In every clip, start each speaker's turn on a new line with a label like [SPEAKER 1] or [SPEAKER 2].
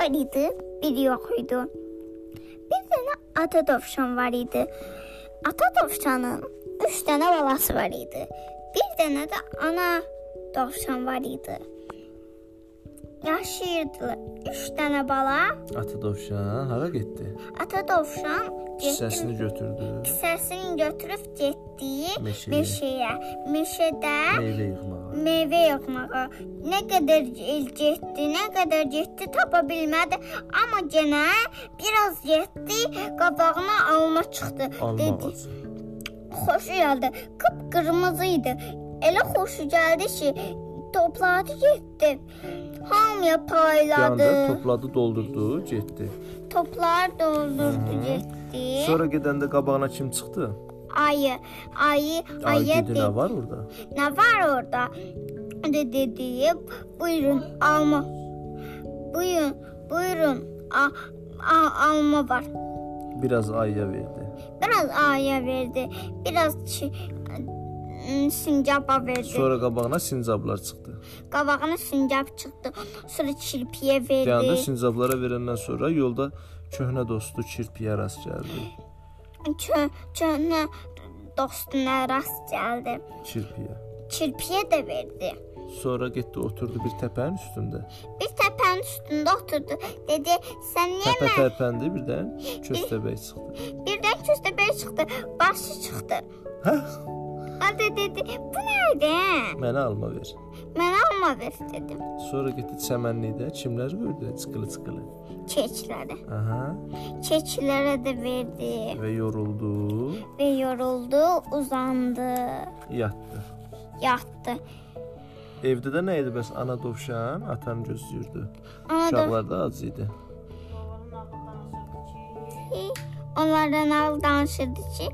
[SPEAKER 1] var idi, biri yox idi. Bir dənə ata dovşan var idi. Ata dovşanın 3 dənə balası var idi. Bir dənə də ana dovşan var idi. Yaşayırdılar. 3 dənə bala.
[SPEAKER 2] Ata dovşan hara getdi?
[SPEAKER 1] Ata dovşan getdi
[SPEAKER 2] Kisəsini götürdü.
[SPEAKER 1] səsini götürüb getdiyi
[SPEAKER 2] Meşəyə.
[SPEAKER 1] meşəyə. Meşədə
[SPEAKER 2] Meyvə yığmağa.
[SPEAKER 1] meyvə yığmağa. Nə qədər il getdi, nə qədər getdi tapa bilmədi, amma yenə biraz getdi, qabağına alma çıxdı.
[SPEAKER 2] Alma ağacı.
[SPEAKER 1] xoşu gəldi. Qıpqırmızı idi. Elə xoşu gəldi ki, topladı getdi. Hamıya
[SPEAKER 2] Yandı,
[SPEAKER 1] payladı.
[SPEAKER 2] topladı, doldurdu, getdi.
[SPEAKER 1] Toplar doldurdu getdi.
[SPEAKER 2] Sonra gedəndə qabağına kim çıxdı?
[SPEAKER 1] Ayı, ayı,
[SPEAKER 2] Ay
[SPEAKER 1] ayı
[SPEAKER 2] dedi,
[SPEAKER 1] dedi.
[SPEAKER 2] nə var orada?
[SPEAKER 1] Ne var orada? Dedi deyip buyurun alma. Buyurun buyurun a, a- alma var.
[SPEAKER 2] Biraz ayıya verdi.
[SPEAKER 1] Biraz aya verdi. Biraz çi, ım, sincapa verdi.
[SPEAKER 2] Sonra qabağına sincablar çıxdı.
[SPEAKER 1] Qabağına sincap çıxdı. Sonra çirpiyə verdi.
[SPEAKER 2] Yandı sincablara verəndən sonra yolda köhnə dostu kirpiyə rast gəldi.
[SPEAKER 1] Çö- Çöhnə dostuna rast gəldi.
[SPEAKER 2] Kirpiyə.
[SPEAKER 1] Çirpiyə də verdi.
[SPEAKER 2] Sonra getdi oturdu bir təpənin üstündə.
[SPEAKER 1] Bir təpənin üstündə oturdu. Dedi, sən niyə
[SPEAKER 2] Təpə tərpəndi birdən köstəbək çıxdı.
[SPEAKER 1] Birdən köstəbək çıxdı, başı çıxdı.
[SPEAKER 2] Hə?
[SPEAKER 1] Hadi dedi, bu nədir?
[SPEAKER 2] Mənə alma ver.
[SPEAKER 1] Mənə alma ver dedim.
[SPEAKER 2] Sonra getdi çəmənlikdə çimlər gördü, çıqılı-çıqılı.
[SPEAKER 1] Keçilərə.
[SPEAKER 2] Aha.
[SPEAKER 1] Keçilərə də verdi
[SPEAKER 2] Və yoruldu,
[SPEAKER 1] və yoruldu, uzandı,
[SPEAKER 2] yatdı.
[SPEAKER 1] yatdı.
[SPEAKER 2] Evdə də nə idi bəs? Ana dovşan atanı gözləyirdi.
[SPEAKER 1] Ana da
[SPEAKER 2] Uşaqlar da ac idi.
[SPEAKER 1] onlardan al danışırdı ki,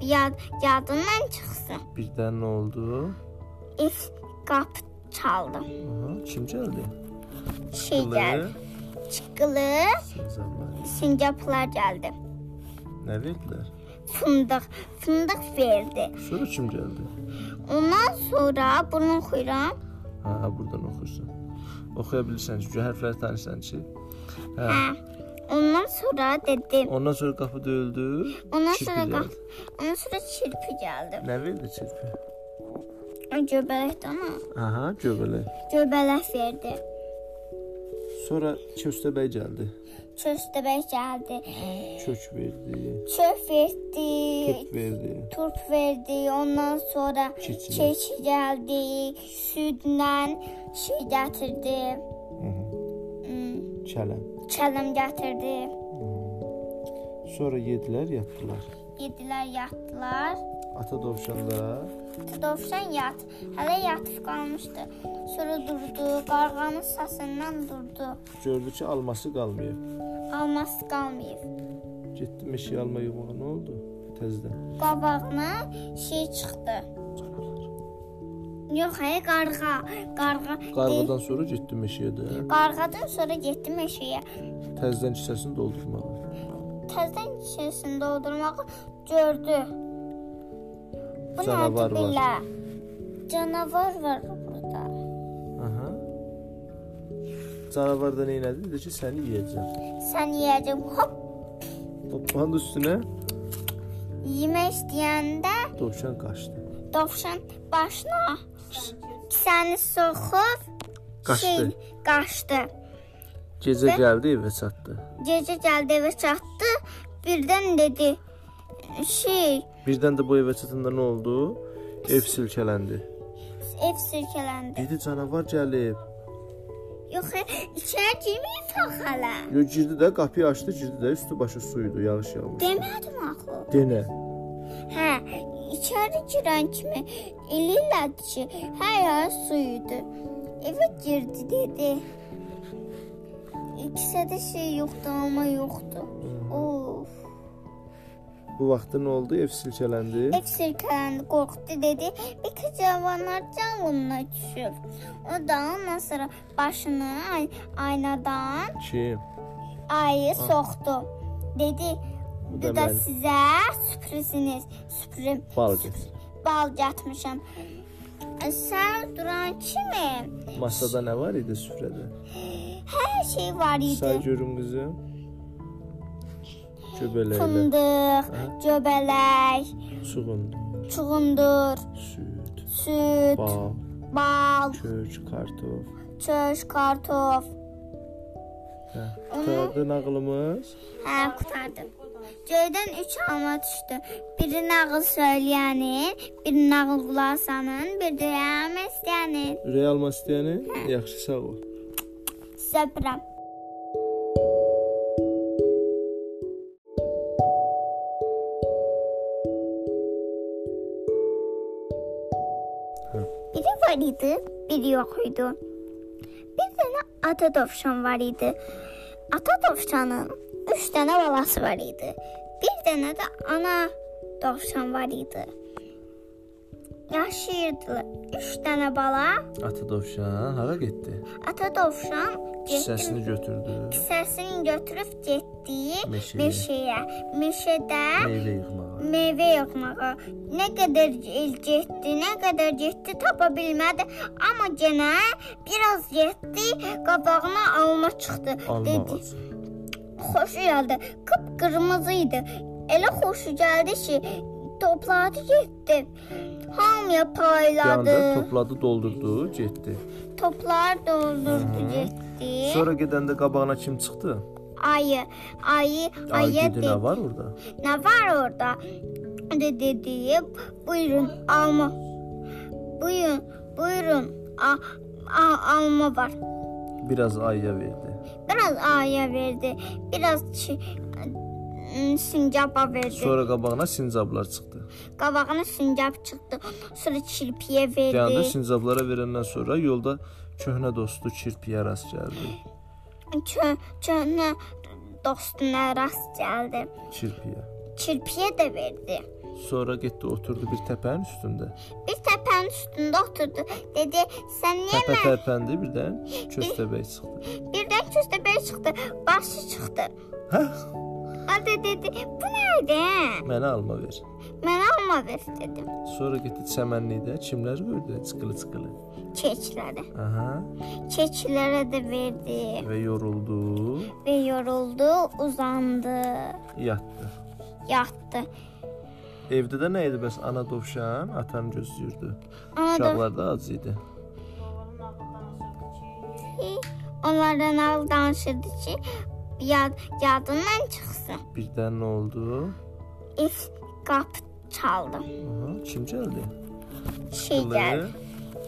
[SPEAKER 1] yad, yadından çıxsın.
[SPEAKER 2] Birdən nə oldu?
[SPEAKER 1] İlk qapı çaldı.
[SPEAKER 2] Aha, kim gəldi?
[SPEAKER 1] Şey gəldi. Çıqqılı
[SPEAKER 2] Sincablar.
[SPEAKER 1] sincaplar gəldi.
[SPEAKER 2] Nə verdilər?
[SPEAKER 1] Fındıq, fındıq verdi.
[SPEAKER 2] Sonra kim gəldi?
[SPEAKER 1] Ondan sonra bunun xuyram
[SPEAKER 2] Ha, burdan oxursan. Oxuya bilirsən çünki hərfləri tanıyırsan ki. Hə.
[SPEAKER 1] Hə. Ondan sonra dedi.
[SPEAKER 2] Ondan sonra qapı döyüldü.
[SPEAKER 1] Ondan
[SPEAKER 2] kirpi
[SPEAKER 1] sonra
[SPEAKER 2] gəldi.
[SPEAKER 1] qap. Ondan sonra çirpi gəldi.
[SPEAKER 2] Nə verdi çirpi?
[SPEAKER 1] Göbələk də ona
[SPEAKER 2] Aha, göbələk.
[SPEAKER 1] göbələk verdi.
[SPEAKER 2] Sonra köstəbək gəldi.
[SPEAKER 1] Çöstəbək gəldi.
[SPEAKER 2] Kök verdi,
[SPEAKER 1] Çöp verdi.
[SPEAKER 2] turp verdi.
[SPEAKER 1] Turp verdi. Ondan sonra
[SPEAKER 2] Keçi.
[SPEAKER 1] keçi gəldi. Südlə şey gətirdi. Hmm,
[SPEAKER 2] Kələm.
[SPEAKER 1] Çələm gətirdi.
[SPEAKER 2] Sonra yedilər, yatdılar.
[SPEAKER 1] Yedilər, yatdılar.
[SPEAKER 2] Ata dovşan da
[SPEAKER 1] Dovşan yat. Hələ yatıb qalmışdı. Sonra durdu. Qarğanın səsindən durdu.
[SPEAKER 2] gördü ki, alması qalmayıb.
[SPEAKER 1] alması qalmayıb.
[SPEAKER 2] Getdi meşəyə alma yığmağa. Nə oldu? Təzədən.
[SPEAKER 1] Qabağına şey çıxdı. Yox, ay qarğa, qarğa.
[SPEAKER 2] Qarğadan sonra getdi meşəyə də.
[SPEAKER 1] Qarğadan sonra getdi meşəyə.
[SPEAKER 2] Təzədən kisəsini doldurmağa.
[SPEAKER 1] Təzədən şişəsini doldurmağı gördü. Bu
[SPEAKER 2] Canavar
[SPEAKER 1] nədir
[SPEAKER 2] var.
[SPEAKER 1] belə? Canavar var burada.
[SPEAKER 2] Aha. Canavar da neylədi? Dedi ki, səni yeyəcəm.
[SPEAKER 1] Sən yeyəcəm. Hop,
[SPEAKER 2] Topanın üstünə
[SPEAKER 1] yemək istəyəndə
[SPEAKER 2] dovşan qaçdı.
[SPEAKER 1] dovşan başına kisəni soxub
[SPEAKER 2] Qaçdı.
[SPEAKER 1] şey qaçdı.
[SPEAKER 2] Gecə gəldi evə çatdı.
[SPEAKER 1] Gecə gəldi evə çatdı. Birdən dedi: "Şey,
[SPEAKER 2] Birdən də bu evə çatanda nə oldu? Ev silkələndi.
[SPEAKER 1] ev sirkələndi."
[SPEAKER 2] Dedi canavar gəlib.
[SPEAKER 1] Yox, içəri girməyin taxala.
[SPEAKER 2] Yo girdi də qapıyı açdı, girdi də üstü başı su idi, yağış yağmış.
[SPEAKER 1] Demədim axı.
[SPEAKER 2] Denə.
[SPEAKER 1] Hə, içəri girən kimi elillədi ki, hər yer su idi. Evə girdi dedi. İkisədə şey yoxdu, alma yoxdu. Of.
[SPEAKER 2] Bu vaxtda nə oldu? Ev silkələndi.
[SPEAKER 1] Ev sirkələndi, qorxdu dedi. Bir kız cavanlar canlına düşür. O da ondan sonra başını ay- aynadan
[SPEAKER 2] Kim?
[SPEAKER 1] ayı soxdu. Dedi, bu
[SPEAKER 2] Bu da
[SPEAKER 1] da
[SPEAKER 2] mən.
[SPEAKER 1] sizə sürpriziniz, sürprizim,
[SPEAKER 2] Bal gətir.
[SPEAKER 1] bal gətirmişəm. Əsər E, duran kimi
[SPEAKER 2] Masada nə var idi süfrədə?
[SPEAKER 1] hər şey var idi.
[SPEAKER 2] Say görüm qızım. Göbələklə,
[SPEAKER 1] Fındıq, göbələk,
[SPEAKER 2] suğundu,
[SPEAKER 1] çuğundur,
[SPEAKER 2] süd,
[SPEAKER 1] süt,
[SPEAKER 2] bal,
[SPEAKER 1] bal,
[SPEAKER 2] kök, kartof.
[SPEAKER 1] çöş, kartof.
[SPEAKER 2] Hə, qurtardın ağlımız.
[SPEAKER 1] Hə, qurtardım. Göydən üç alma düşdü. Biri nağıl söyləyənin, biri nağıl qulaq asanın, biri də yamək istəyənin.
[SPEAKER 2] Ürək almaq istəyəni, yaxşı sağ ol.
[SPEAKER 1] Sizə öpürəm. Biri var idi, biri yox idi. Bir dənə ata dovşan var idi. Ata dovşanın üç dənə balası var idi. Bir dənə də ana dovşan var idi. Yaşayırdılar. Üç dənə bala,
[SPEAKER 2] Ata dovşan hara getdi?
[SPEAKER 1] ata dovşan getdi
[SPEAKER 2] Kisəsini götürdü.
[SPEAKER 1] səsini götürüb getdiyi
[SPEAKER 2] Meşəyə.
[SPEAKER 1] meşəyə. Meşədə
[SPEAKER 2] Meyvə yığmağa.
[SPEAKER 1] meyvə yoxmağa. Nə qədər il getdi, nə qədər getdi tapa bilmədi, amma yenə biraz getdi, qabağına alma çıxdı.
[SPEAKER 2] Alma ağacı.
[SPEAKER 1] xoşu gəldi. Qıpqırmızı idi. Elə xoşu gəldi ki, topladı getdi. Hamıya
[SPEAKER 2] Bir
[SPEAKER 1] payladı.
[SPEAKER 2] anda topladı, doldurdu, getdi.
[SPEAKER 1] Toplar doldurdu getdi.
[SPEAKER 2] Sonra gedəndə qabağına kim çıxdı?
[SPEAKER 1] Ayı, ayı,
[SPEAKER 2] Ay
[SPEAKER 1] ayı
[SPEAKER 2] dedi
[SPEAKER 1] dedi.
[SPEAKER 2] nə var orada?
[SPEAKER 1] Ne var orada? De dedi. Buyurun alma. Buyurun, buyurun. A, a- alma var.
[SPEAKER 2] Biraz ayıya verdi.
[SPEAKER 1] Biraz aya verdi. Biraz çi, ım, sincapa verdi.
[SPEAKER 2] Sonra qabağına sincablar çıxdı.
[SPEAKER 1] Qabağına sincap çıxdı. Sonra çirpiyə
[SPEAKER 2] Bir anda
[SPEAKER 1] verdi.
[SPEAKER 2] sincablara verəndən sonra yolda köhnə dostu Kirpiyə rast gəldi.
[SPEAKER 1] Çö, çönə dostuna rast gəldi.
[SPEAKER 2] Kirpiyə.
[SPEAKER 1] Çirpiyə də verdi.
[SPEAKER 2] Sonra getdi oturdu bir təpənin üstündə.
[SPEAKER 1] Bir təpənin üstündə oturdu. Dedi, sən niyə
[SPEAKER 2] Təpə tərpəndi birdən köstəbək çıxdı.
[SPEAKER 1] Birdən köstəbək çıxdı, başı çıxdı.
[SPEAKER 2] Hə?
[SPEAKER 1] Hadi dedi, bu nədir?
[SPEAKER 2] Mənə alma ver.
[SPEAKER 1] Mənə alma ver dedim.
[SPEAKER 2] Sonra getdi çəmənlikdə çimlər gördü, çıxılı çıxılı.
[SPEAKER 1] Keçilərə.
[SPEAKER 2] Aha.
[SPEAKER 1] Keçilərə də verdi
[SPEAKER 2] Və yoruldu,
[SPEAKER 1] və yoruldu, uzandı,
[SPEAKER 2] yatdı.
[SPEAKER 1] yatdı.
[SPEAKER 2] Evdə də nə idi bəs ana dovşan atanı gözləyirdi.
[SPEAKER 1] Ona da
[SPEAKER 2] Uşaqlar da ac idi.
[SPEAKER 1] onlardan al danışırdı ki, yad, yadından çıxsın.
[SPEAKER 2] Birdən nə oldu?
[SPEAKER 1] İlk qapı çaldı.
[SPEAKER 2] Aha, kim gəldi?
[SPEAKER 1] Şey gəldi.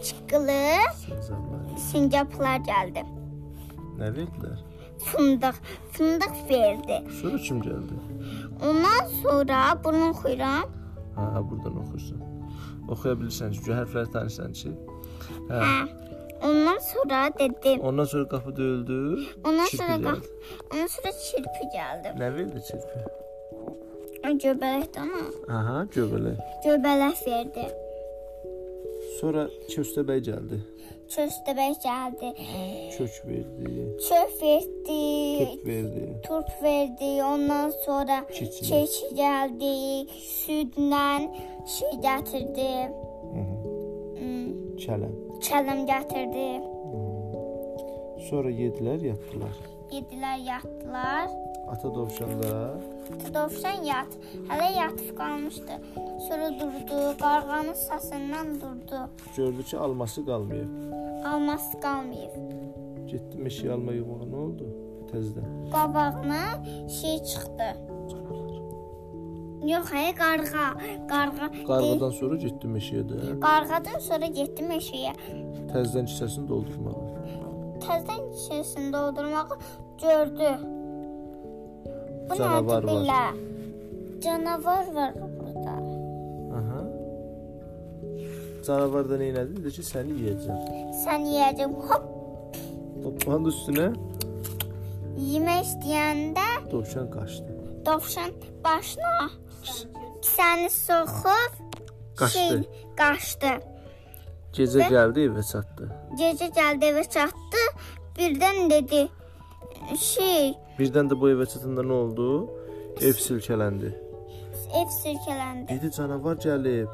[SPEAKER 1] Çıqqılı
[SPEAKER 2] Sincablar.
[SPEAKER 1] sincaplar gəldi.
[SPEAKER 2] Nə verdilər?
[SPEAKER 1] Fındıq, fındıq verdi.
[SPEAKER 2] Sonra kim gəldi?
[SPEAKER 1] Ondan sonra bunu oxuyuram.
[SPEAKER 2] Ha, buradan oxursan. Oxuya bilirsən çünki hərfləri tanıyırsan ki. Hə.
[SPEAKER 1] Hə. Ondan sonra dedi.
[SPEAKER 2] Ondan sonra qapı döyüldü.
[SPEAKER 1] Ondan
[SPEAKER 2] Kirpi
[SPEAKER 1] sonra
[SPEAKER 2] gəldi.
[SPEAKER 1] bax. Ondan sonra çirpi gəldi.
[SPEAKER 2] Nə verdi çirpi?
[SPEAKER 1] Göbələkdə ona
[SPEAKER 2] Aha, göbələk.
[SPEAKER 1] göbələk verdi.
[SPEAKER 2] Sonra köstəbək gəldi.
[SPEAKER 1] Çöstəbək gəldi.
[SPEAKER 2] Kök verdi,
[SPEAKER 1] Çöp verdi.
[SPEAKER 2] turp verdi.
[SPEAKER 1] Turp verdi. Ondan sonra
[SPEAKER 2] Keçi.
[SPEAKER 1] keçi gəldi. Südlə şey gətirdi.
[SPEAKER 2] Hı -hı.
[SPEAKER 1] Hmm,
[SPEAKER 2] Kələm.
[SPEAKER 1] Çələm gətirdi.
[SPEAKER 2] Sonra yedilər, yatdılar.
[SPEAKER 1] Yedilər, yatdılar.
[SPEAKER 2] Ata dovşan da
[SPEAKER 1] Dovşan yat. Hələ yatıb qalmışdı. Sonra durdu. Qarğanın səsindən durdu.
[SPEAKER 2] gördü ki, alması qalmayıb.
[SPEAKER 1] Alması qalmayıb.
[SPEAKER 2] Getdi meşəyə alma yumağa nə oldu? Təzədən.
[SPEAKER 1] qabağına şey çıxdı. Yox, hayır, qarğa. Qarğa.
[SPEAKER 2] Qarğadan sonra getdi meşəyə də.
[SPEAKER 1] Qarğadan sonra getdi meşəyə.
[SPEAKER 2] Təzədən kisəsini doldurmağa.
[SPEAKER 1] Təzədən şişəsini doldurmağı gördü. Bu nədir
[SPEAKER 2] Canavar var.
[SPEAKER 1] belə? Canavar var burada.
[SPEAKER 2] Aha. Canavar da neylədi? Dedi ki, səni yeyəcəm.
[SPEAKER 1] Sən yeyəcəm. Hop,
[SPEAKER 2] Topanın üstünə
[SPEAKER 1] yemək istəyəndə
[SPEAKER 2] dovşan qaçdı.
[SPEAKER 1] dovşan başına kisəni soxub
[SPEAKER 2] Qaçdı.
[SPEAKER 1] şey qaçdı.
[SPEAKER 2] Gecə gəldi evə çatdı.
[SPEAKER 1] Gecə gəldi evə çatdı. Birdən dedi: "Şey,
[SPEAKER 2] Birdən də bu evə çatanda nə oldu? Ev silkələndi.
[SPEAKER 1] ev sirkələndi."
[SPEAKER 2] Dedi canavar gəlib.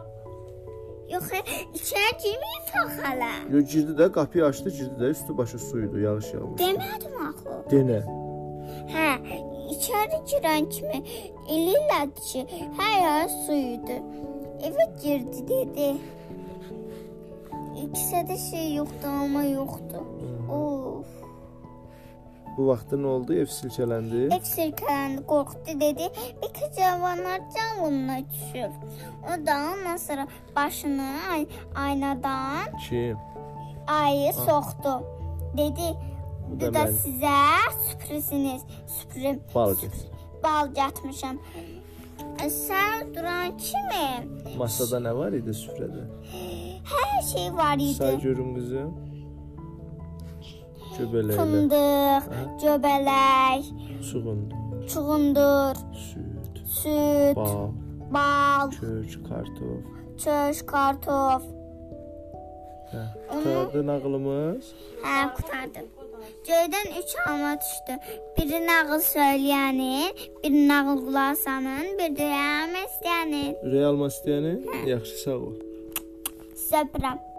[SPEAKER 1] Yoxsa içinə girməyib taxala.
[SPEAKER 2] Yo, girdi də qapıyı açdı, girdi də üstü başı su idi, yağış yağmışdı.
[SPEAKER 1] Demədim axı.
[SPEAKER 2] Denə.
[SPEAKER 1] Hə, içəri girən kimi elillər ki, hər yer suyudu. Evə girdi dedi. İkisədə şey yoxdu, amma yoxdu. Of.
[SPEAKER 2] Bu vaxtda nə oldu? Ev silkələndi.
[SPEAKER 1] Ev sirkələndi, qorxdu dedi. Bir kız cavanlar canlına düşür. O da ondan sonra başını ay- aynadan
[SPEAKER 2] Kim?
[SPEAKER 1] ayı
[SPEAKER 2] Ah.
[SPEAKER 1] soxdu. Dedi,
[SPEAKER 2] Bu
[SPEAKER 1] bu
[SPEAKER 2] da
[SPEAKER 1] da
[SPEAKER 2] mən.
[SPEAKER 1] sizə sürpriziniz, sürprizim.
[SPEAKER 2] Balcı.
[SPEAKER 1] bal gətirmişəm. E, Sən duran kimi
[SPEAKER 2] Masada nə var idi süfrədə?
[SPEAKER 1] hər şey var
[SPEAKER 2] Say
[SPEAKER 1] idi.
[SPEAKER 2] görüm qızım. Göbələklə,
[SPEAKER 1] Fındıq, göbələk,
[SPEAKER 2] suğundu,
[SPEAKER 1] çuğundur,
[SPEAKER 2] süd,
[SPEAKER 1] süd,
[SPEAKER 2] bal,
[SPEAKER 1] bal,
[SPEAKER 2] kök, kartof.
[SPEAKER 1] çöş, kartof.
[SPEAKER 2] Hə. Qurtardın ağlımız.
[SPEAKER 1] Hə, qurtardım. Göydən 3 alma düşdü. Biri nağıl söyləyənin, biri nağıl qulaq asanın, biri də yamək istəyənin.
[SPEAKER 2] Ürək almaq istəyəni, yaxşı sağ ol.
[SPEAKER 1] Səbrəm.